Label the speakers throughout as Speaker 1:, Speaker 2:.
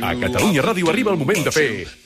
Speaker 1: A Catalunya Ràdio arriba el moment de fer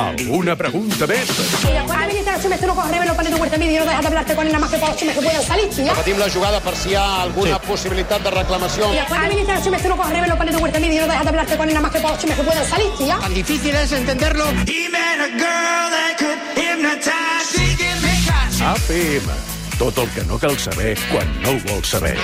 Speaker 1: alguna pregunta més.
Speaker 2: Mira, ¿cuántas veces te se me estuvo correr los panes de huerta en mi vida y no dejas de hablarte con él nada más que por si me puedo salir, tía?
Speaker 3: Repetim la jugada per si hi ha alguna sí. possibilitat de reclamació.
Speaker 2: Mira, ¿cuántas veces se me estuvo correr los panes de huerta en mi vida y no dejas de hablarte con él nada más que por si me puedo salir, tía?
Speaker 4: Tan difícil es entenderlo.
Speaker 5: He met a girl that could hypnotize. She give me caution.
Speaker 1: APM. Tot el que no cal saber quan no ho vols saber.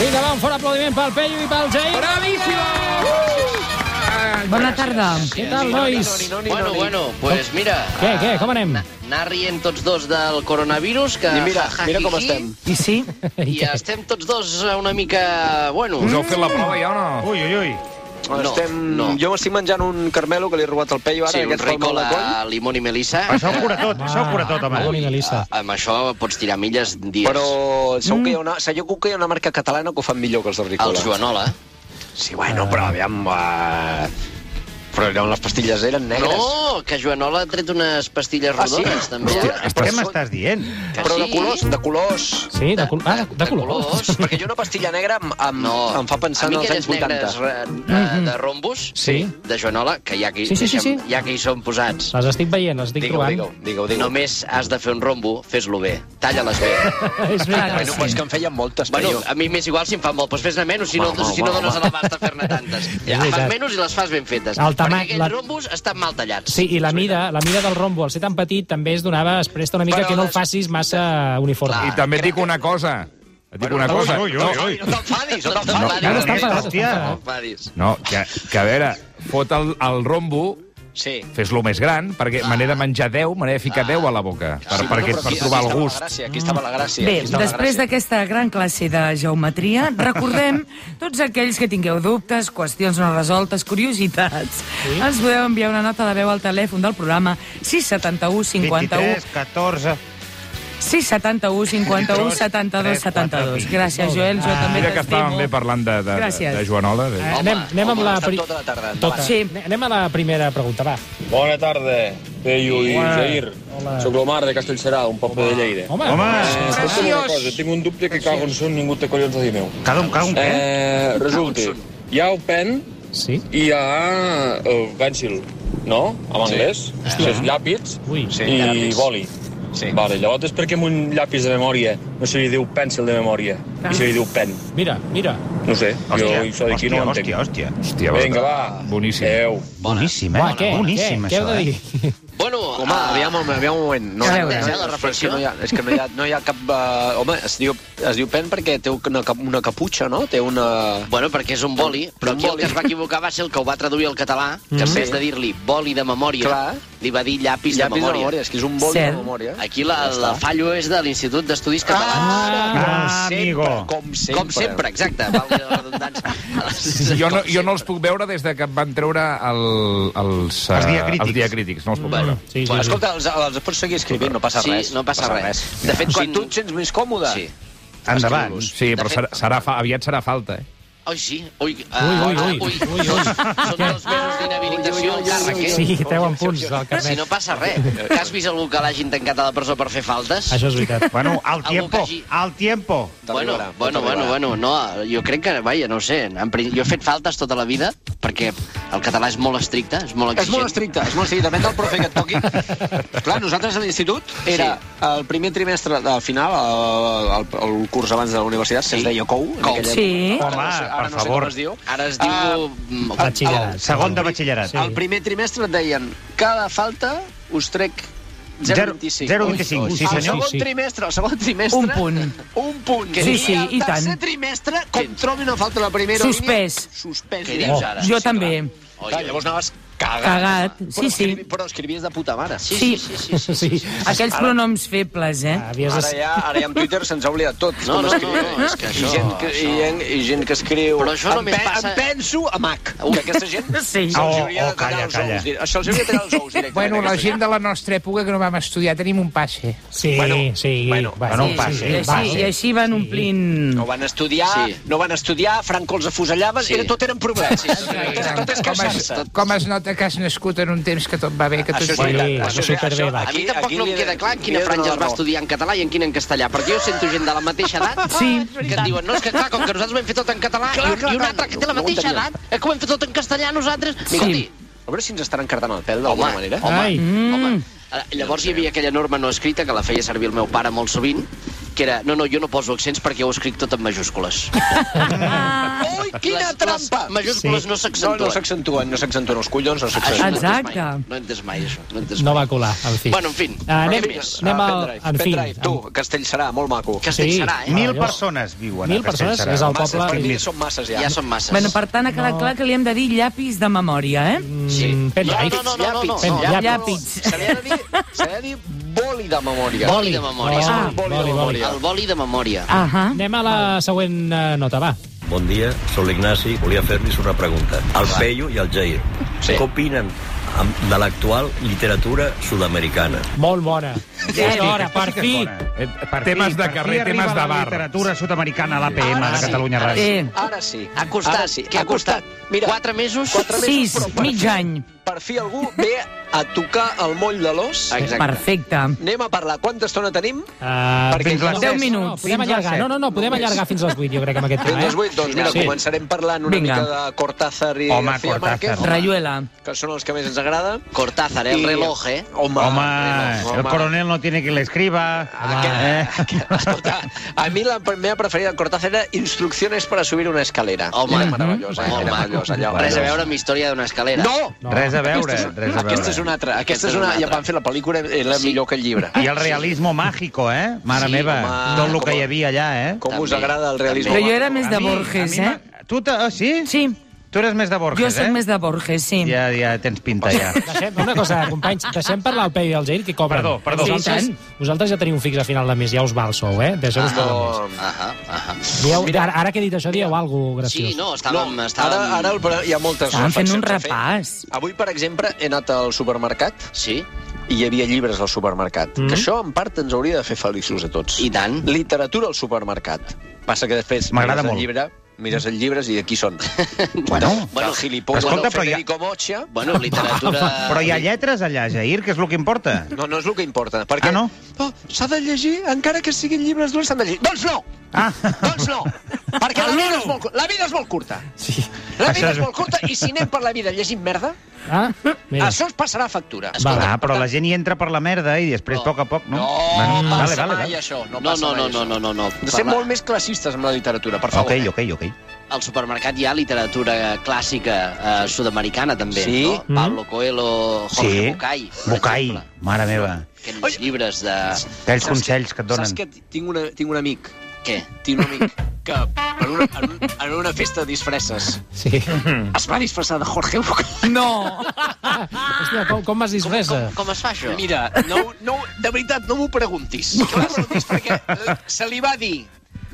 Speaker 6: Vinga, va, un fort aplaudiment pel Peyu i pel Jair. Bravíssimo!
Speaker 7: Bona tarda.
Speaker 6: Què tal, nois?
Speaker 8: Bueno, bueno, pues mira,
Speaker 6: Què, què, com anem?
Speaker 8: anar rient tots dos del coronavirus, que...
Speaker 3: I mira,
Speaker 8: ja, ja,
Speaker 3: mira
Speaker 8: hi,
Speaker 3: com
Speaker 8: hi,
Speaker 3: estem.
Speaker 7: I sí?
Speaker 8: I estem tots dos una mica... Bueno,
Speaker 9: Us heu fet la prova ja o no? Ui, ui, ui.
Speaker 8: no,
Speaker 3: estem...
Speaker 8: no.
Speaker 3: Jo estic menjant un carmelo que li he robat al Peyu ara.
Speaker 8: Sí, un
Speaker 3: aquest fa el mal
Speaker 8: ricol
Speaker 3: de coll.
Speaker 8: a limón i melissa.
Speaker 9: Això ho cura tot, això ho cura tot, home.
Speaker 6: Mare meva, Lisa.
Speaker 8: Amb això pots tirar milles dies.
Speaker 3: Però segur que hi ha
Speaker 8: Mm.
Speaker 3: una, segur que hi ha una marca catalana que ho fan millor que els de Ricola.
Speaker 8: El Joanola.
Speaker 3: Sí, bueno,
Speaker 8: Ah.
Speaker 3: però aviam... Uh... Però eren, les pastilles eren negres.
Speaker 8: No, que Joanola ha tret unes pastilles
Speaker 3: Eh, Ah, sí?
Speaker 8: rodones, també.
Speaker 3: Hòstia,
Speaker 9: Però què m'estàs dient?
Speaker 8: Que
Speaker 3: Però de
Speaker 8: sí.
Speaker 3: colors, de colors.
Speaker 6: Sí, de, col ah, de, de colors.
Speaker 3: Perquè jo una pastilla negra em, em,
Speaker 8: No,
Speaker 3: em fa pensar en els anys 80.
Speaker 8: Amigues negres re- de, de rombos,
Speaker 6: Mhm. Sí.
Speaker 8: de Joanola, que ja que,
Speaker 6: Sí, sí, sí,
Speaker 8: deixem-
Speaker 6: sí.
Speaker 8: ja que hi són posats.
Speaker 6: Les estic veient, les estic
Speaker 3: Digue-ho,
Speaker 6: trobant.
Speaker 3: digue-ho, digue-ho. Digue
Speaker 8: Només has de fer un rombo, fes-lo bé. Talla-les bé.
Speaker 6: És veritat.
Speaker 3: Bueno, però és que en feien moltes,
Speaker 8: bueno,
Speaker 3: Peyu.
Speaker 8: a mi m'és igual si em fan molt, doncs fes-ne menys, si no,
Speaker 3: Home,
Speaker 8: si no
Speaker 3: home,
Speaker 8: dones a
Speaker 3: home.
Speaker 8: l'abast de fer-ne tantes. Ja, fas
Speaker 6: veritat.
Speaker 8: menys i les fas ben fetes.
Speaker 6: El tamac-
Speaker 8: perquè aquells
Speaker 6: la-
Speaker 8: rombos estan mal tallats.
Speaker 6: Sí, i la mida, la mida del rombo, al ser tan petit, també es donava, es presta una mica
Speaker 8: Però
Speaker 6: que no el
Speaker 8: les-
Speaker 6: facis massa
Speaker 9: I
Speaker 6: uniforme.
Speaker 9: també et dic una cosa. Et dic una cosa.
Speaker 8: Ui, ui, ui. No t'enfadis, no t'enfadis.
Speaker 6: no, no, està
Speaker 8: no
Speaker 6: enfadat,
Speaker 9: hòstia.
Speaker 6: està enfadat.
Speaker 8: t'enfadis.
Speaker 9: No, que, que a veure, fot el, el rombo,
Speaker 8: Sí.
Speaker 9: fes-lo més gran, perquè m'he de menjar 10, m'he de ficar 10 a la boca, per,
Speaker 3: Sí,
Speaker 9: perquè,
Speaker 3: però
Speaker 9: per trobar
Speaker 3: aquí- aquí
Speaker 9: el
Speaker 3: estava la
Speaker 9: gust.
Speaker 3: gràcia, Aquí estava
Speaker 6: Mm.
Speaker 3: la gràcia.
Speaker 7: Bé,
Speaker 3: aquí estava la
Speaker 7: després
Speaker 3: gràcia.
Speaker 7: d'aquesta gran classe de geometria, recordem tots aquells que tingueu dubtes, qüestions no resoltes, curiositats. Ens podeu enviar una nota de veu al telèfon del programa 671 51
Speaker 9: 23, 14...
Speaker 7: 671 51 72 72. Gràcies, Joel, jo també
Speaker 9: Ah, Mira que estàvem bé
Speaker 7: t'estimo.
Speaker 9: parlant de, de, de,
Speaker 7: Gràcies.
Speaker 9: de Joanola.
Speaker 6: Eh, anem, anem amb
Speaker 3: home,
Speaker 6: la...
Speaker 3: ha estat tota la tarda, endavant.
Speaker 6: Tota.
Speaker 7: Sí.
Speaker 6: Anem a la primera pregunta, va.
Speaker 10: Bona tarda, Peyu i
Speaker 6: Hola.
Speaker 10: Jair.
Speaker 6: Hola.
Speaker 10: Soc l'Omar de Castellserà, un poble de Lleida.
Speaker 6: Home,
Speaker 9: Home,
Speaker 10: Eh, Escolta'm una cosa, tinc un dubte que cago en son, ningú té collons de dir meu.
Speaker 9: cada un, cada un, eh?
Speaker 10: Eh, resulta, hi ha el pen
Speaker 6: Sí.
Speaker 10: i hi ha el pencil, no? En anglès. Sí. Els llàpids
Speaker 6: Ui.
Speaker 10: sí, i
Speaker 3: llàpids.
Speaker 10: boli.
Speaker 3: Sí.
Speaker 10: Vale, llavors és perquè amb un llapis de memòria no se li diu pencil de memòria, i se li diu pen.
Speaker 6: Mira, mira.
Speaker 10: No ho sé,
Speaker 9: Hòstia,
Speaker 10: jo això d'aquí
Speaker 9: hòstia,
Speaker 10: no ho entenc.
Speaker 9: hòstia, hòstia. Hòstia,
Speaker 10: Vinga, va.
Speaker 9: Boníssim.
Speaker 10: Adéu.
Speaker 9: Boníssim, eh?
Speaker 6: Va, què?
Speaker 9: Boníssim,
Speaker 6: què? Què
Speaker 9: això,
Speaker 6: heu de dir?
Speaker 9: eh?
Speaker 8: Bueno,
Speaker 3: Home,
Speaker 8: eh,
Speaker 3: aviam, home, aviam un moment. No,
Speaker 7: A
Speaker 3: no,
Speaker 7: veure.
Speaker 3: no,
Speaker 8: La reflexió.
Speaker 3: És que no hi ha, és que no hi ha, no hi ha cap... Uh, home, es diu, es diu pen perquè té una, cap- una caputxa, no? Té una...
Speaker 8: Bueno, perquè és un boli, però
Speaker 3: Un
Speaker 8: aquí el
Speaker 3: boli. Mm.
Speaker 8: que es va equivocar va ser el que ho va traduir al català, que en vez de dir-li boli de memòria,
Speaker 3: Clar.
Speaker 8: li va dir llapis,
Speaker 3: Llapis de
Speaker 8: de memòria.
Speaker 3: memòria, és que és un bol
Speaker 7: Cert.
Speaker 3: de memòria.
Speaker 8: Aquí la,
Speaker 3: Ja
Speaker 8: la
Speaker 3: està.
Speaker 8: fallo és de l'Institut d'Estudis Catalans.
Speaker 9: Ah, amigo.
Speaker 3: Com sempre.
Speaker 8: Com sempre, exacte, valgui la redundància.
Speaker 9: Jo no,
Speaker 8: Com
Speaker 9: jo no els
Speaker 8: sempre.
Speaker 9: puc veure des de que van treure el, els, eh,
Speaker 10: Els diacrítics.
Speaker 9: els diacrítics. No els puc veure.
Speaker 6: Sí, sí,
Speaker 3: Bueno,
Speaker 6: sí.
Speaker 3: escolta, els, els pots seguir escrivint, no passa
Speaker 8: Sí,
Speaker 3: res.
Speaker 8: no passa res.
Speaker 3: De
Speaker 8: De
Speaker 3: fet,
Speaker 8: fet,
Speaker 3: si
Speaker 8: quan-
Speaker 3: tu et sents més còmode...
Speaker 8: Sí.
Speaker 9: Endavant.
Speaker 3: Escriu-los.
Speaker 9: Sí,
Speaker 8: De
Speaker 9: però
Speaker 8: fet-
Speaker 9: serà, serà fa, aviat serà falta, eh?
Speaker 8: Ai, sí. Ui, uh,
Speaker 6: Ui, ui, ui. Ui, ui.
Speaker 8: Són dos mesos d'inhabilitació al càrrec, eh?
Speaker 6: Sí, treuen punts del
Speaker 8: Si
Speaker 6: carnet.
Speaker 8: no passa res. Que has vist algú que l'hagin tancat a la presó per fer faltes?
Speaker 6: Això és veritat.
Speaker 9: Bueno, al
Speaker 8: Algú tiempo, que hagi-
Speaker 9: al tiempo.
Speaker 8: Bueno,
Speaker 3: T'arribarà,
Speaker 8: bueno, bueno,
Speaker 3: t'arribarà.
Speaker 8: bueno, no, jo crec que, vaja, no ho sé, en prin- jo he fet faltes tota la vida, perquè el català és molt estricte, és molt
Speaker 3: És
Speaker 8: exigent.
Speaker 3: molt estricte, és molt estricte. Depèn del profe que et toqui. Clar, nosaltres a l'institut era
Speaker 8: Sí.
Speaker 3: el primer trimestre del final, el, el, el curs abans de la universitat, sí. que es deia COU. en
Speaker 8: COU.
Speaker 3: aquella
Speaker 7: Sí.
Speaker 3: època.
Speaker 9: Home,
Speaker 3: Ara no sé- ara
Speaker 9: per
Speaker 3: no sé
Speaker 9: favor.
Speaker 3: com es diu.
Speaker 8: Ara es diu...
Speaker 3: Ah,
Speaker 8: mm,
Speaker 6: Batxillerat.
Speaker 9: Segon de batxillerat.
Speaker 3: El primer trimestre et deien cada falta us trec 0,25.
Speaker 6: Ui,
Speaker 9: sí,
Speaker 3: el
Speaker 9: senyor.
Speaker 3: segon
Speaker 6: Sí, sí.
Speaker 3: trimestre, el segon trimestre...
Speaker 7: Un punt.
Speaker 3: Un punt.
Speaker 7: Sí, sí,
Speaker 3: el
Speaker 7: i
Speaker 3: tercer
Speaker 7: tant.
Speaker 3: trimestre, com trobi una falta a la primera
Speaker 7: Suspès.
Speaker 3: línia... Suspès.
Speaker 8: Què dius ara?
Speaker 7: Jo
Speaker 8: Sí,
Speaker 7: també.
Speaker 8: clar.
Speaker 3: Clar, llavors anaves cagat.
Speaker 7: Cagat.
Speaker 3: però,
Speaker 7: Sí, sí.
Speaker 3: escrivi- Però escrivies de puta mare.
Speaker 8: Sí, sí, sí, sí, sí, sí.
Speaker 6: Sí.
Speaker 7: Aquells pronoms febles, eh?
Speaker 6: Havies
Speaker 3: Ara
Speaker 6: de...
Speaker 3: ja, ara ja amb Twitter se'ns ha oblidat tot.
Speaker 8: No,
Speaker 3: com
Speaker 8: no,
Speaker 3: escriure.
Speaker 8: no, no, és que
Speaker 3: I
Speaker 8: això-
Speaker 3: gent que, i,
Speaker 8: això-
Speaker 3: gent, I gent que escriu...
Speaker 8: Però això
Speaker 3: em
Speaker 8: només
Speaker 3: pe-
Speaker 8: passa-
Speaker 3: Em penso a Mac. Que aquesta gent
Speaker 7: Sí.
Speaker 3: se'ls
Speaker 9: Oh, oh,
Speaker 3: hauria de tallar
Speaker 9: calla,
Speaker 3: els
Speaker 9: calla.
Speaker 3: ous. dir- Això els hauria de tallar els ous directament. aquesta
Speaker 9: de la nostra època que no vam estudiar tenim un passe.
Speaker 6: Sí,
Speaker 3: Bueno,
Speaker 6: sí.
Speaker 3: bueno,
Speaker 6: va,
Speaker 9: bueno,
Speaker 6: sí,
Speaker 9: va,
Speaker 6: sí,
Speaker 9: sí,
Speaker 7: I
Speaker 6: va,
Speaker 7: així,
Speaker 6: sí.
Speaker 7: i així van omplint...
Speaker 3: No van estudiar,
Speaker 8: Sí.
Speaker 3: sí. no van estudiar, Franco els afusellaves,
Speaker 8: Sí.
Speaker 3: sí. era, tot eren problemes. Sí, sí,
Speaker 8: sí,
Speaker 3: sí, tot és queixar-se.
Speaker 9: Com es nota
Speaker 4: de que has nascut en un temps que tot va bé, que tot
Speaker 8: Això és
Speaker 4: va
Speaker 8: veritat.
Speaker 4: bé.
Speaker 6: Sí,
Speaker 8: Això-
Speaker 6: superbé,
Speaker 8: això-
Speaker 6: va.
Speaker 8: A mi
Speaker 3: Aquí-
Speaker 8: tampoc
Speaker 3: aquí
Speaker 8: no
Speaker 3: li
Speaker 8: em
Speaker 3: he de-
Speaker 8: queda clar en
Speaker 3: li
Speaker 8: quina
Speaker 3: he de
Speaker 8: franja
Speaker 3: donar
Speaker 8: es va
Speaker 3: raó.
Speaker 8: estudiar en català i en quina en castellà, perquè jo sento gent de la mateixa edat
Speaker 7: Sí.
Speaker 8: que et diuen, no, és que clar, com que nosaltres ho hem fet tot en català i, un- i un altre que té la
Speaker 3: No ho
Speaker 8: mateixa
Speaker 3: entenia.
Speaker 8: edat, és que ho hem fet tot en castellà nosaltres.
Speaker 3: Escolti, a veure si ens estan encardant el pèl d'alguna manera.
Speaker 8: Home,
Speaker 6: Ai. Mm.
Speaker 8: home. Eh, Llavors hi havia aquella norma no escrita que la feia servir el meu pare molt sovint, que era, no, no, jo no poso accents perquè ho escric tot en majúscules.
Speaker 3: Ui, quina
Speaker 8: Les-
Speaker 3: trampa!
Speaker 8: Les majúscules
Speaker 6: Ah. Sí.
Speaker 8: no
Speaker 3: No,
Speaker 8: s'accentuen.
Speaker 3: no s'accentuen, no s'accentuen els collons, no
Speaker 8: Això
Speaker 3: s'accentuen.
Speaker 8: no he entès mai.
Speaker 7: Exacte.
Speaker 8: No he entès mai, això. No he entès
Speaker 6: No
Speaker 8: mai.
Speaker 6: va colar, en fi.
Speaker 8: Bueno, en fin.
Speaker 6: Ah, anem,
Speaker 8: Però més.
Speaker 6: anem
Speaker 3: Ah,
Speaker 6: al...
Speaker 3: pendrive,
Speaker 6: en fi.
Speaker 3: pendrive. Tu, Castell serà, molt maco.
Speaker 8: Castell
Speaker 6: Sí.
Speaker 8: serà, eh?
Speaker 6: Mil
Speaker 11: Mil
Speaker 6: Allò-
Speaker 11: persones viuen
Speaker 6: Mil
Speaker 11: a
Speaker 6: persones, és el
Speaker 3: Masses,
Speaker 6: poble...
Speaker 3: per mi són masses ja.
Speaker 8: Ja són masses.
Speaker 7: Bueno, per tant, ha quedat
Speaker 6: No.
Speaker 7: clar que li hem de dir llapis de memòria, eh?
Speaker 8: sí.
Speaker 6: Mm, pendrive.
Speaker 8: No, no, no, no, no,
Speaker 6: Pen-
Speaker 8: no.
Speaker 6: llapis.
Speaker 7: Llapis.
Speaker 3: Se li ha de dir, se li ha de dir boli de memòria.
Speaker 8: Boli de memòria.
Speaker 6: Ah,
Speaker 3: Boli de
Speaker 6: boli, boli.
Speaker 3: memòria.
Speaker 8: El boli de memòria.
Speaker 7: Ahà.
Speaker 6: Anem a la següent eh, nota, va.
Speaker 11: Bon dia, sóc l'Ignasi. Volia fer-los una pregunta. Al Peyu i al Jair,
Speaker 3: Sí.
Speaker 11: què opinen amb- de l'actual literatura sud-americana?
Speaker 6: Molt bona. Ja és hora, per fi.
Speaker 9: Eh, Per temes de carrer, temes de
Speaker 11: La
Speaker 9: bar.
Speaker 11: literatura sud-americana a l'APM
Speaker 3: Ara
Speaker 11: de
Speaker 3: sí,
Speaker 11: Catalunya
Speaker 3: ara
Speaker 11: Ràdio.
Speaker 7: Eh,
Speaker 3: Ara sí.
Speaker 8: Ha costat.
Speaker 3: Ara sí.
Speaker 8: Què ha costat?
Speaker 3: Mira,
Speaker 8: Quatre mesos?
Speaker 3: Quatre mesos,
Speaker 7: Sis,
Speaker 3: però per
Speaker 7: mig
Speaker 3: fi-
Speaker 7: any.
Speaker 3: Per fi algú ve a tocar el moll de l'os.
Speaker 8: Exacte.
Speaker 7: perfecte.
Speaker 3: Anem a parlar. Quanta estona tenim?
Speaker 6: Uh,
Speaker 3: Perquè fins les
Speaker 6: no,
Speaker 7: 10
Speaker 6: no,
Speaker 7: minuts,
Speaker 6: No, podem
Speaker 11: fins les
Speaker 6: allargar.
Speaker 11: set.
Speaker 6: No, no, no, podem
Speaker 3: Només.
Speaker 6: allargar fins les 8, jo crec, amb aquest
Speaker 3: Fins
Speaker 6: tema.
Speaker 3: les
Speaker 6: Eh?
Speaker 3: 8, doncs mira,
Speaker 6: Sí.
Speaker 3: començarem parlant una
Speaker 7: Vinga.
Speaker 3: mica de Cortázar i
Speaker 11: Home,
Speaker 3: García
Speaker 11: Cortázar.
Speaker 3: Márquez,
Speaker 7: Rayuela.
Speaker 3: que són els que més ens agrada.
Speaker 8: Cortázar, eh? el
Speaker 3: I-
Speaker 8: reloj, eh?
Speaker 3: Home,
Speaker 11: Home,
Speaker 3: reloj,
Speaker 11: el
Speaker 3: home.
Speaker 11: coronel no tiene quien le escriba.
Speaker 3: Ah, que- que- Escolta, a mi la meva preferida de Cortázar era Instrucciones para subir una escalera.
Speaker 8: Home.
Speaker 3: era meravellosa, eh?
Speaker 8: Molt
Speaker 3: era
Speaker 8: maco.
Speaker 3: meravellosa. Allò,
Speaker 8: Res a veure amb història d'una escalera.
Speaker 3: No!
Speaker 6: No.
Speaker 11: Res a veure, res a veure.
Speaker 3: Aquesta és una altra. Aquesta és una... Ja van fer la pel·lícula, era
Speaker 8: Sí.
Speaker 3: millor que el llibre.
Speaker 11: I el realismo mágico, eh? Mare
Speaker 8: Sí,
Speaker 11: meva,
Speaker 3: home,
Speaker 11: tot el
Speaker 3: com-
Speaker 11: que hi havia allà, eh?
Speaker 3: Ah, Com us
Speaker 8: També,
Speaker 3: agrada el realisme?
Speaker 7: Però jo era
Speaker 3: màgic?
Speaker 7: més de Borges, eh?
Speaker 11: Tu, te- ah, sí?
Speaker 7: Sí,
Speaker 11: Tu eres més de Borges,
Speaker 7: jo
Speaker 11: eh?
Speaker 7: sóc més de Borges, sí.
Speaker 11: Ja, ja tens pinta, ja.
Speaker 6: Deixem, una cosa, companys, deixem parlar al Peyu i al Jair, que cobren.
Speaker 11: Perdó, perdó.
Speaker 6: Vosaltres,
Speaker 7: Sí,
Speaker 6: vosaltres ja teniu fix a final de mes, ja us va el sou, eh? Deixeu-vos ah, no.
Speaker 3: No,
Speaker 8: Ahà, ahà.
Speaker 6: Dieu, ara, ara que he dit això, dieu alguna cosa
Speaker 8: Sí,
Speaker 6: graciós.
Speaker 8: no,
Speaker 3: no,
Speaker 8: estàvem...
Speaker 3: ara,
Speaker 8: estàvem...
Speaker 3: ara el, però hi ha moltes
Speaker 7: Estàvem fent un
Speaker 3: reflexions a fer.
Speaker 7: repàs.
Speaker 3: Avui, per exemple, he anat al supermercat
Speaker 8: Sí,
Speaker 3: i hi havia llibres al supermercat.
Speaker 6: Mhm.
Speaker 3: Que
Speaker 11: Mm.
Speaker 3: això, en part, ens hauria de fer feliços a tots.
Speaker 8: i tant.
Speaker 3: Literatura al supermercat. Passa que després
Speaker 11: M'agrada
Speaker 3: mires el
Speaker 11: molt.
Speaker 3: llibre, mires els llibres i aquí són.
Speaker 11: Bueno,
Speaker 3: bueno,
Speaker 8: bueno,
Speaker 3: el gilipolles
Speaker 11: escolta,
Speaker 3: del
Speaker 11: però hi ha-
Speaker 3: Federico Mocha...
Speaker 8: Bueno, literatura...
Speaker 11: Ah, Però hi ha lletres allà, Jair, que és el que importa.
Speaker 3: Eh, No, no és el que importa. Perquè
Speaker 11: Ah, no?
Speaker 3: Oh, s'ha de llegir, encara que siguin llibres durs, s'han de llegir. Doncs no!
Speaker 11: Ah.
Speaker 3: Doncs no! Perquè la vida, és molt, cu- la vida és molt curta. Sí. La vida
Speaker 11: Això
Speaker 3: és
Speaker 11: és-
Speaker 3: molt curta i si anem per la vida llegint merda,
Speaker 6: Ah, mira.
Speaker 3: això ens passarà factura.
Speaker 11: Va,
Speaker 8: Escolta,
Speaker 11: va, però la gent hi entra per la merda i després,
Speaker 8: No.
Speaker 11: a poc a poc, no?
Speaker 3: No
Speaker 11: Bueno,
Speaker 3: passa
Speaker 11: vale, vale,
Speaker 3: mai
Speaker 11: vale.
Speaker 3: això. No,
Speaker 8: No,
Speaker 3: passa
Speaker 8: no,
Speaker 3: mai
Speaker 8: no, no,
Speaker 3: això.
Speaker 8: no, no, no.
Speaker 3: De ser
Speaker 8: Parla-
Speaker 3: molt més classistes amb la literatura, per favor.
Speaker 11: Ok, ok, ok.
Speaker 8: Al supermercat hi ha literatura clàssica eh, sud-americana, també,
Speaker 3: Sí.
Speaker 8: no?
Speaker 6: Mm.
Speaker 8: Pablo Coelho, Jorge
Speaker 11: Sí.
Speaker 8: Bucay. per
Speaker 11: Bocai,
Speaker 8: exemple.
Speaker 11: mare meva.
Speaker 8: Aquells
Speaker 3: Oi.
Speaker 8: llibres de...
Speaker 11: Aquells
Speaker 3: Saps
Speaker 11: consells que et donen.
Speaker 3: Saps que tinc, una, tinc un amic
Speaker 8: Què?
Speaker 3: tinc un amic que en una, en, un- en una festa de disfresses
Speaker 6: Sí.
Speaker 3: es va disfressar de Jorge Bucay.
Speaker 7: No!
Speaker 6: Hòstia, com, com m'has disfressa?
Speaker 8: Com es fa això?
Speaker 3: Mira, no, no, de veritat, no m'ho preguntis. No m'ho preguntis perquè eh, se li va dir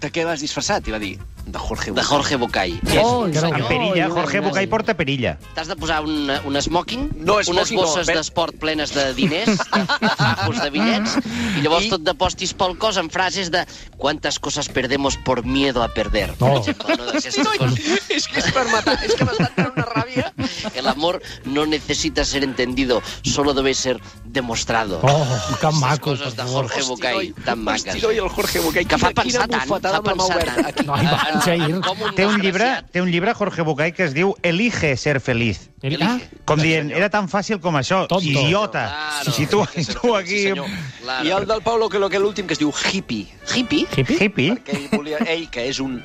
Speaker 3: de què vas disfressat? I va dir, de Jorge
Speaker 8: De
Speaker 3: Bucay.
Speaker 8: Jorge Bucay.
Speaker 6: Oh, carai.
Speaker 11: En perilla, Jorge Bocai porta perilla.
Speaker 8: T'has de posar un, un smoking,
Speaker 3: No, eh? smoking
Speaker 8: unes bosses
Speaker 3: no, ve-
Speaker 8: d'esport plenes de diners, de, de fajos de bitllets, i llavors
Speaker 3: I-
Speaker 8: I... tot de postis pel cos amb frases de «Cuántas cosas perdemos por miedo a perder».
Speaker 6: No.
Speaker 8: no de aquestes coses.
Speaker 3: És que és per matar, és que m'està fent una ràbia.
Speaker 8: El amor no necesita ser entendido, solo debe ser demostrado.
Speaker 6: Oh, que
Speaker 8: Aquestes
Speaker 6: maco,
Speaker 8: coses de
Speaker 6: per favor.
Speaker 8: Jorge Bucay, tan maques.
Speaker 3: Hosti, noi, el Jorge Bucay.
Speaker 8: Que fa
Speaker 3: quina-
Speaker 8: pensar
Speaker 3: quina
Speaker 8: tant,
Speaker 3: bufetada
Speaker 8: fa
Speaker 3: amb la mà
Speaker 8: pensar
Speaker 3: oberta.
Speaker 8: tant. Ah,
Speaker 6: Noi, va, Jair.
Speaker 8: Com un
Speaker 11: Té un llibre,
Speaker 8: desgraciat.
Speaker 11: té un llibre Jorge Bocai que es diu Elige ser feliz.
Speaker 6: Mira,
Speaker 11: Com dient, era tan fàcil com això,
Speaker 6: Tonto.
Speaker 11: idiota.
Speaker 8: Claro.
Speaker 11: si tu, si tu
Speaker 3: Sí,
Speaker 11: aquí...
Speaker 3: senyor.
Speaker 8: Claro.
Speaker 3: I el del Paulo, que lo que l'últim, que es diu hippie.
Speaker 8: Hippie?
Speaker 6: hippie?
Speaker 11: Hippie?
Speaker 3: Perquè ell, volia, ell, que és un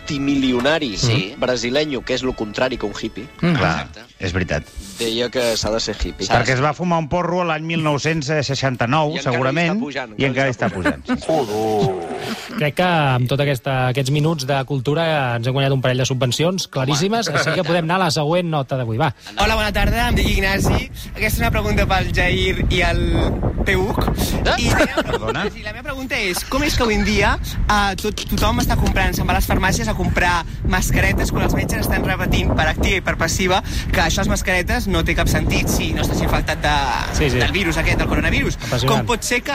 Speaker 3: multimilionari
Speaker 8: Sí. Mm.
Speaker 3: brasileño, que és lo contrari que un hippie,
Speaker 11: Clar, és veritat.
Speaker 3: deia que s'ha de ser hippie.
Speaker 11: Perquè es va fumar un porro l'any
Speaker 3: I
Speaker 11: 1969,
Speaker 3: encara
Speaker 11: segurament,
Speaker 3: hi està pujant,
Speaker 11: i encara hi està pujant.
Speaker 6: ah, Crec que amb tots aquests minuts de cultura ens hem guanyat un parell de subvencions claríssimes, així que podem anar a la següent nota d'avui. Va,
Speaker 5: Hola, bona tarda, em dic Ignasi. Aquesta és una pregunta pel Jair i el Peuc. I la meva pregunta,
Speaker 11: Perdona?
Speaker 5: sí, la meva pregunta és, com és que avui en dia eh, tot, tothom està comprant, se'n va a les farmàcies a comprar mascaretes quan els metges estan repetint per activa i per passiva que això, les mascaretes, no té cap sentit si no estàs infectat de,
Speaker 6: Sí, sí.
Speaker 5: del virus aquest, del coronavirus.
Speaker 6: Apassionant.
Speaker 5: Com pot ser que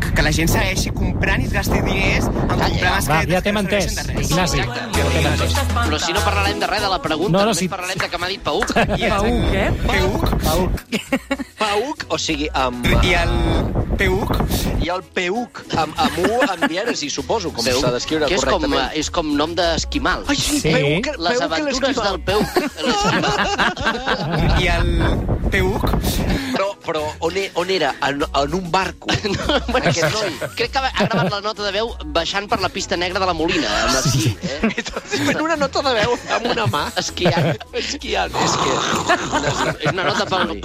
Speaker 5: que, que la gent segueixi comprant i es gasti diners en comprar mascaretes.
Speaker 6: Va, ja
Speaker 5: que
Speaker 6: t'hem
Speaker 5: no
Speaker 6: entès,
Speaker 5: serveixen de res.
Speaker 6: Ignasi. Ja t'hem entès.
Speaker 8: Però si no parlarem de res de la pregunta, no,
Speaker 6: No, no,
Speaker 8: no, només
Speaker 6: si-
Speaker 8: parlarem de que m'ha dit Pauc.
Speaker 7: Pauc, eh?
Speaker 5: Peuc,
Speaker 3: Pauc, o sigui, amb...
Speaker 5: i el Peuc,
Speaker 3: Hi ha el Peuc, amb, amb U, amb dièresi, suposo, com
Speaker 8: Peuc,
Speaker 3: s'ha d'escriure
Speaker 8: que és com,
Speaker 3: correctament.
Speaker 8: eh, és com nom d'esquimal.
Speaker 3: Ai, sí,
Speaker 6: Sí.
Speaker 3: Peuc,
Speaker 8: Les
Speaker 3: Peuc
Speaker 8: aventures
Speaker 3: l'esquimal.
Speaker 8: del Peuc.
Speaker 5: i el Peuc,
Speaker 3: Però, però on, e- on era? En, en un barco.
Speaker 8: Bueno,
Speaker 3: Aquest noi.
Speaker 8: Crec que ha gravat la nota de veu baixant per la pista negra de la Molina, amb l'esquí. Eh?
Speaker 3: En una nota de veu, amb una mà.
Speaker 8: Esquiant.
Speaker 3: Esquiant. És que...
Speaker 8: És una nota pel...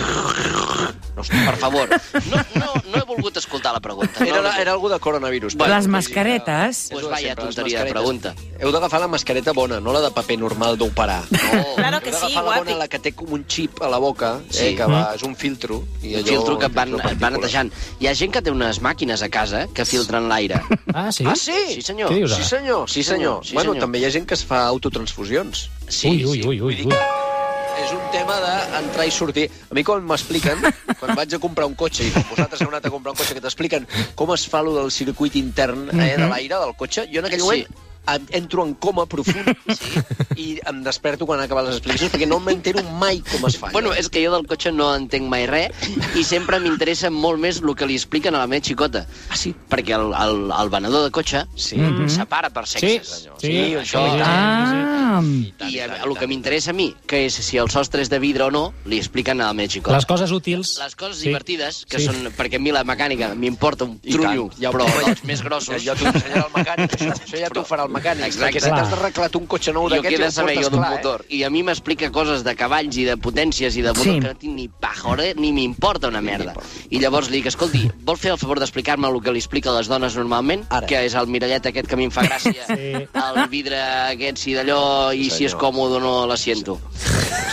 Speaker 8: No, per favor, no, no, no he volgut escoltar la pregunta.
Speaker 3: Era,
Speaker 8: No,
Speaker 3: la- era algú de coronavirus.
Speaker 8: Bueno,
Speaker 7: Les mascaretes.
Speaker 8: Pues
Speaker 3: És el de
Speaker 8: vaya
Speaker 3: sempre, les
Speaker 8: tonteria de
Speaker 3: mascaretes.
Speaker 8: pregunta.
Speaker 3: Heu d'agafar la mascareta bona, no la de paper normal d'operar. No.
Speaker 12: Claro que
Speaker 3: Heu d'agafar
Speaker 12: sí,
Speaker 3: la
Speaker 12: guapi.
Speaker 3: bona, la que té com un xip a la boca, eh,
Speaker 8: Sí.
Speaker 3: que va, és un filtro. I
Speaker 8: Un
Speaker 3: allò-
Speaker 8: filtro que et van,
Speaker 3: un filtro
Speaker 8: et van netejant. Hi ha gent que té unes màquines a casa que filtren l'aire.
Speaker 6: Ah, sí?
Speaker 3: Ah, sí?
Speaker 8: Sí, senyor.
Speaker 6: Què dius ara?
Speaker 3: Sí, senyor. Sí, senyor.
Speaker 8: Sí,
Speaker 3: bueno,
Speaker 8: senyor.
Speaker 3: també hi ha gent que es fa autotransfusions.
Speaker 8: Sí,
Speaker 6: ui, ui, ui, ui,
Speaker 3: Vull dir
Speaker 6: ui.
Speaker 3: que és un tema d'entrar i sortir. A mi quan m'expliquen, quan vaig a comprar un cotxe, i com vosaltres heu anat a comprar un cotxe, que t'expliquen com es fa lo del circuit intern eh,
Speaker 6: Mhm.
Speaker 3: de l'aire del cotxe, jo en aquell
Speaker 8: Sí.
Speaker 3: moment em- entro en coma profund sí, i em desperto quan acaben les explicacions perquè no m'entero mai com es fa.
Speaker 8: Bueno, eh, és que jo del cotxe no entenc mai res i sempre m'interessa molt més el que li expliquen a la meva xicota.
Speaker 3: Ah, sí?
Speaker 8: Perquè el, el, el venedor de cotxe sí. separa per
Speaker 6: Sí,
Speaker 8: sexes, allò.
Speaker 6: sí,
Speaker 8: això...
Speaker 6: sí, sí.
Speaker 7: Ah,
Speaker 3: tant,
Speaker 8: I
Speaker 3: i
Speaker 8: a-
Speaker 3: tant,
Speaker 8: el
Speaker 3: i
Speaker 8: que
Speaker 3: tant.
Speaker 8: m'interessa a mi, que és si el sostre és de vidre o no, li expliquen a la meva xicota.
Speaker 6: Les coses útils...
Speaker 8: les coses
Speaker 6: Sí.
Speaker 8: divertides, que
Speaker 6: Sí.
Speaker 8: són... Perquè a mi la mecànica m'importa un
Speaker 3: I tant,
Speaker 8: trullo,
Speaker 3: ja ho
Speaker 8: però
Speaker 3: veig.
Speaker 8: els més grossos...
Speaker 3: Ja, ja t'ho ensenyarà el mecànic, això, això ja t'ho farà el mecànic.
Speaker 8: Exacte.
Speaker 3: Perquè si
Speaker 6: Clar.
Speaker 3: t'has arreglat un cotxe nou
Speaker 8: jo
Speaker 3: d'aquests...
Speaker 8: què he
Speaker 3: ja
Speaker 8: de
Speaker 3: el
Speaker 8: saber
Speaker 3: portes
Speaker 8: jo d'un
Speaker 3: clar, eh?
Speaker 8: motor? I a mi m'explica coses de cavalls i de potències i de motor
Speaker 7: Sí.
Speaker 8: que no tinc ni pajora ni m'importa una merda. I llavors li dic, escolti, vol fer el favor d'explicar-me el que li explica a les dones normalment?
Speaker 3: Ara.
Speaker 8: Que és el mirallet aquest que a mi em fa gràcia,
Speaker 6: Sí.
Speaker 8: el vidre aquest, si d'allò, i si és
Speaker 3: senyor.
Speaker 8: còmode o no la siento.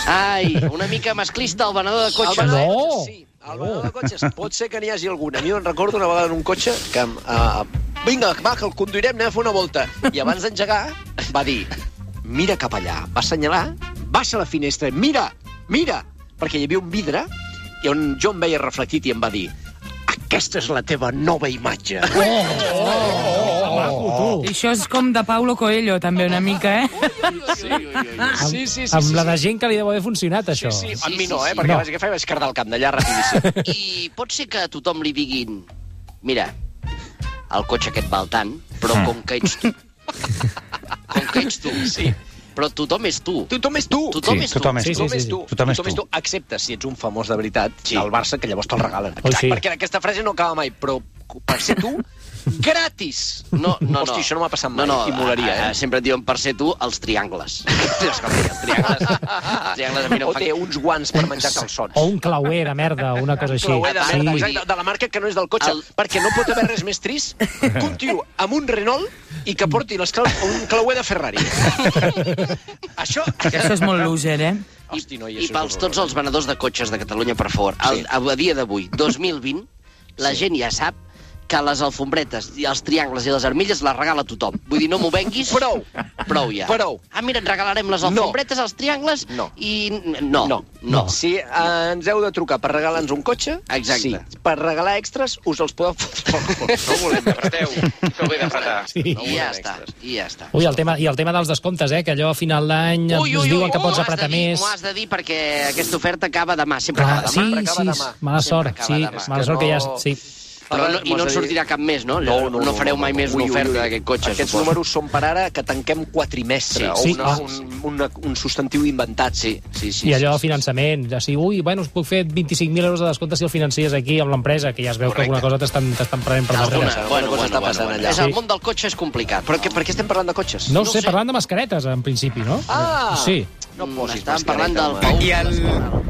Speaker 8: Ai, una mica masclista el venedor de
Speaker 3: El
Speaker 8: cotxe.
Speaker 3: venedor de
Speaker 6: No.
Speaker 3: cotxes, sí. El venedor de cotxes. Pot ser que n'hi hagi alguna. A mi me'n recordo una vegada en un cotxe que... em, Eh, vinga, va, que el conduirem, anem a fer una volta. I abans d'engegar va dir, mira cap allà. Va assenyalar, baixa la finestra, mira, mira! Perquè hi havia un vidre i on jo em veia reflectit i em va dir, aquesta és la teva nova imatge.
Speaker 6: Oh, tu.
Speaker 7: això és com de Paulo Coelho, també, una mica, eh?
Speaker 8: Sí, ui, ui, ui.
Speaker 6: Amb, sí, sí, sí, amb la de gent que li deu haver funcionat, això.
Speaker 3: Sí,
Speaker 8: sí,
Speaker 3: a mi no,
Speaker 8: sí,
Speaker 3: eh?
Speaker 8: sí.
Speaker 3: Perquè
Speaker 6: No.
Speaker 3: vaig agafar i vaig cardar el cap d'allà rapidíssim.
Speaker 8: I pot ser que a tothom li diguin mira, el cotxe aquest val tant, però com que ets tu... com que ets tu, sí. Però tothom és tu.
Speaker 3: Tothom és tu.
Speaker 8: Tothom
Speaker 13: Sí,
Speaker 8: és tu.
Speaker 13: tothom és
Speaker 6: Sí,
Speaker 13: tu.
Speaker 6: sí,
Speaker 3: Tothom és tu.
Speaker 13: Tothom és tu.
Speaker 3: Excepte si ets un famós de veritat
Speaker 8: Sí.
Speaker 3: del Barça, que llavors te'l regalen.
Speaker 6: Oh, sí.
Speaker 3: Perquè aquesta frase no acaba mai, però per ser tu, gratis!
Speaker 8: No, no, no.
Speaker 3: Hosti, això no m'ha passat mai,
Speaker 8: No, no,
Speaker 3: i molaria,
Speaker 8: a- a-
Speaker 3: eh?
Speaker 8: Sempre et diuen per ser tu els triangles. Escolta, els triangles, els triangles a mi no
Speaker 3: O
Speaker 8: em fan...
Speaker 3: té uns guants per menjar calçons.
Speaker 6: O un clauer de merda, o una cosa així.
Speaker 3: Clauer de, merda,
Speaker 6: Oh, sí.
Speaker 3: exacte, de la marca que no és del cotxe,
Speaker 8: El-
Speaker 3: perquè no pot haver res més trist que un tio amb un Renault i que porti les clau... un clauer de Ferrari. això...
Speaker 7: Això és molt loser, eh?
Speaker 3: Hosti, noi,
Speaker 8: I
Speaker 3: això és
Speaker 8: pels tots
Speaker 3: horrorós.
Speaker 8: els venedors de cotxes de Catalunya, per favor, el,
Speaker 3: Sí.
Speaker 8: a, a dia d'avui, 2020, la gent ja sap que les alfombretes, i els triangles i les armilles les regala tothom. Vull dir, no m'ho venguis.
Speaker 3: Prou.
Speaker 8: Prou ja.
Speaker 3: Prou.
Speaker 8: Ah, mira, et regalarem les
Speaker 3: No.
Speaker 8: alfombretes, els triangles
Speaker 3: No.
Speaker 8: i... No.
Speaker 3: No,
Speaker 8: No.
Speaker 3: no. Si eh, ens heu de trucar per regalar-nos un cotxe,
Speaker 8: Exacte.
Speaker 3: sí. Per regalar extras, us els podeu fotre.
Speaker 13: No volem que apreteu, que ho he d'apretar.
Speaker 6: Sí.
Speaker 8: I ja està. I ja està.
Speaker 6: Ui, el tema, i el tema dels descomptes, eh, que allò a final d'any ens diuen que
Speaker 8: ui, m'ho has
Speaker 6: pots apretar
Speaker 8: de dir,
Speaker 6: més.
Speaker 8: M'ho has de dir perquè aquesta oferta acaba demà, sempre
Speaker 6: Clar,
Speaker 8: acaba
Speaker 6: sí,
Speaker 8: demà.
Speaker 6: sí,
Speaker 3: acaba demà.
Speaker 6: mala
Speaker 8: Sempre
Speaker 6: sort,
Speaker 8: acaba
Speaker 6: sí,
Speaker 8: demà.
Speaker 6: mala
Speaker 3: És que
Speaker 6: sort que ja...
Speaker 3: no-
Speaker 6: Sí.
Speaker 8: Però no, I no en sortirà cap més, no? No, no, no fareu mai més
Speaker 3: Ui, ui,
Speaker 8: l'oferta
Speaker 3: ui.
Speaker 8: d'aquest cotxe,
Speaker 3: Aquests
Speaker 8: suposo.
Speaker 3: números són per ara que tanquem
Speaker 8: Sí,
Speaker 3: quatrimestre, o
Speaker 6: sí,
Speaker 3: una,
Speaker 6: ah.
Speaker 3: un, una, un substantiu inventat, sí.
Speaker 8: Sí, sí,
Speaker 6: I allò
Speaker 8: sí,
Speaker 6: de finançament, o sigui, ui, bueno, us puc fer 25.000 euros de descompte si el financies aquí amb l'empresa, que ja es veu que alguna cosa t'estan t'estan prenent per
Speaker 8: Alguna,
Speaker 6: darrere.
Speaker 8: bueno, bueno,
Speaker 3: Alguna cosa
Speaker 8: bueno,
Speaker 3: està
Speaker 8: bueno,
Speaker 3: passant
Speaker 8: bueno.
Speaker 3: allà.
Speaker 8: És el
Speaker 6: Sí.
Speaker 8: món del cotxe és complicat.
Speaker 3: Però que, per què estem parlant de cotxes?
Speaker 6: No ho
Speaker 8: no
Speaker 6: sé,
Speaker 8: sé.
Speaker 6: parlant de mascaretes, en principi, no?
Speaker 3: Ah!
Speaker 6: Sí.
Speaker 3: No
Speaker 8: Mm,
Speaker 3: posis
Speaker 8: estàvem
Speaker 3: mascareta,
Speaker 8: parlant del
Speaker 3: home.
Speaker 8: Pau.
Speaker 5: i el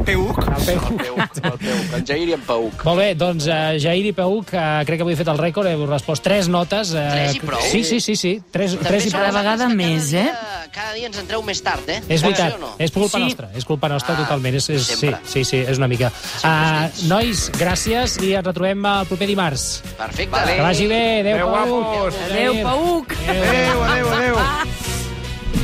Speaker 5: Peuc,
Speaker 6: El peu.
Speaker 3: El Peuc, el Peuc, en Jair i en Peuc.
Speaker 6: Molt bé, doncs uh, Jair i Peuc, uh, crec que avui he fet el rècord, heu respost tres notes. Uh,
Speaker 8: Tres i prou?
Speaker 6: Sí, sí, sí, sí. Tres, tres i
Speaker 8: sou
Speaker 6: prou.
Speaker 7: cada vegada
Speaker 8: vosaltres que
Speaker 7: més,
Speaker 8: cada
Speaker 7: eh?
Speaker 8: Dia, cada dia ens entreu més tard, eh?
Speaker 6: És
Speaker 8: Pot
Speaker 6: veritat,
Speaker 8: ser o
Speaker 6: és culpa
Speaker 7: Sí.
Speaker 6: nostra, és culpa nostra
Speaker 8: Ah,
Speaker 6: totalment, és, és, sí,
Speaker 8: sempre.
Speaker 6: sí, sí, és una mica. Uh, nois, gràcies i ens retrobem el proper dimarts.
Speaker 8: Perfecte.
Speaker 6: Que vagi bé, adeu,
Speaker 9: Adéu,
Speaker 6: Pau.
Speaker 9: guapos.
Speaker 7: Adéu, Pauc!
Speaker 6: Adéu.
Speaker 9: Adéu, adéu, adéu.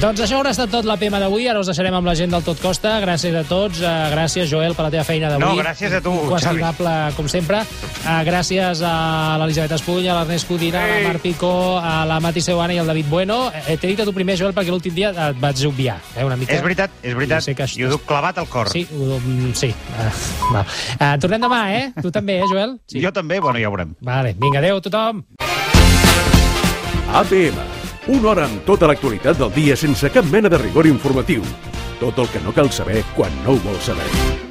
Speaker 6: Doncs això haurà estat tot la PM d'avui. Ara us deixarem amb la gent del Tot Costa. Gràcies a tots. eh, Gràcies, Joel, per la teva feina d'avui.
Speaker 5: No, gràcies a tu,
Speaker 6: Inqüestionable, com sempre. Eh, Gràcies a l'Elisabet Espuny, a l'Ernest Codina, a la Mar Picó, a la Mati Seuana i al David Bueno. Eh, T'he dit a tu primer, Joel, perquè l'últim dia et vaig obviar. Eh, una mica.
Speaker 5: És veritat, és veritat.
Speaker 6: sé que
Speaker 5: I ho duc clavat al cor.
Speaker 6: Sí, ho, mm, sí. Ah, va. Eh, tornem demà, eh? Tu també, eh, Joel? Sí.
Speaker 5: Jo també, bueno, ja ho veurem.
Speaker 6: Vale. Vinga, adeu a tothom.
Speaker 9: APM. Una hora amb tota l'actualitat del dia sense cap mena de rigor informatiu. Tot el que no cal saber quan no ho vols saber.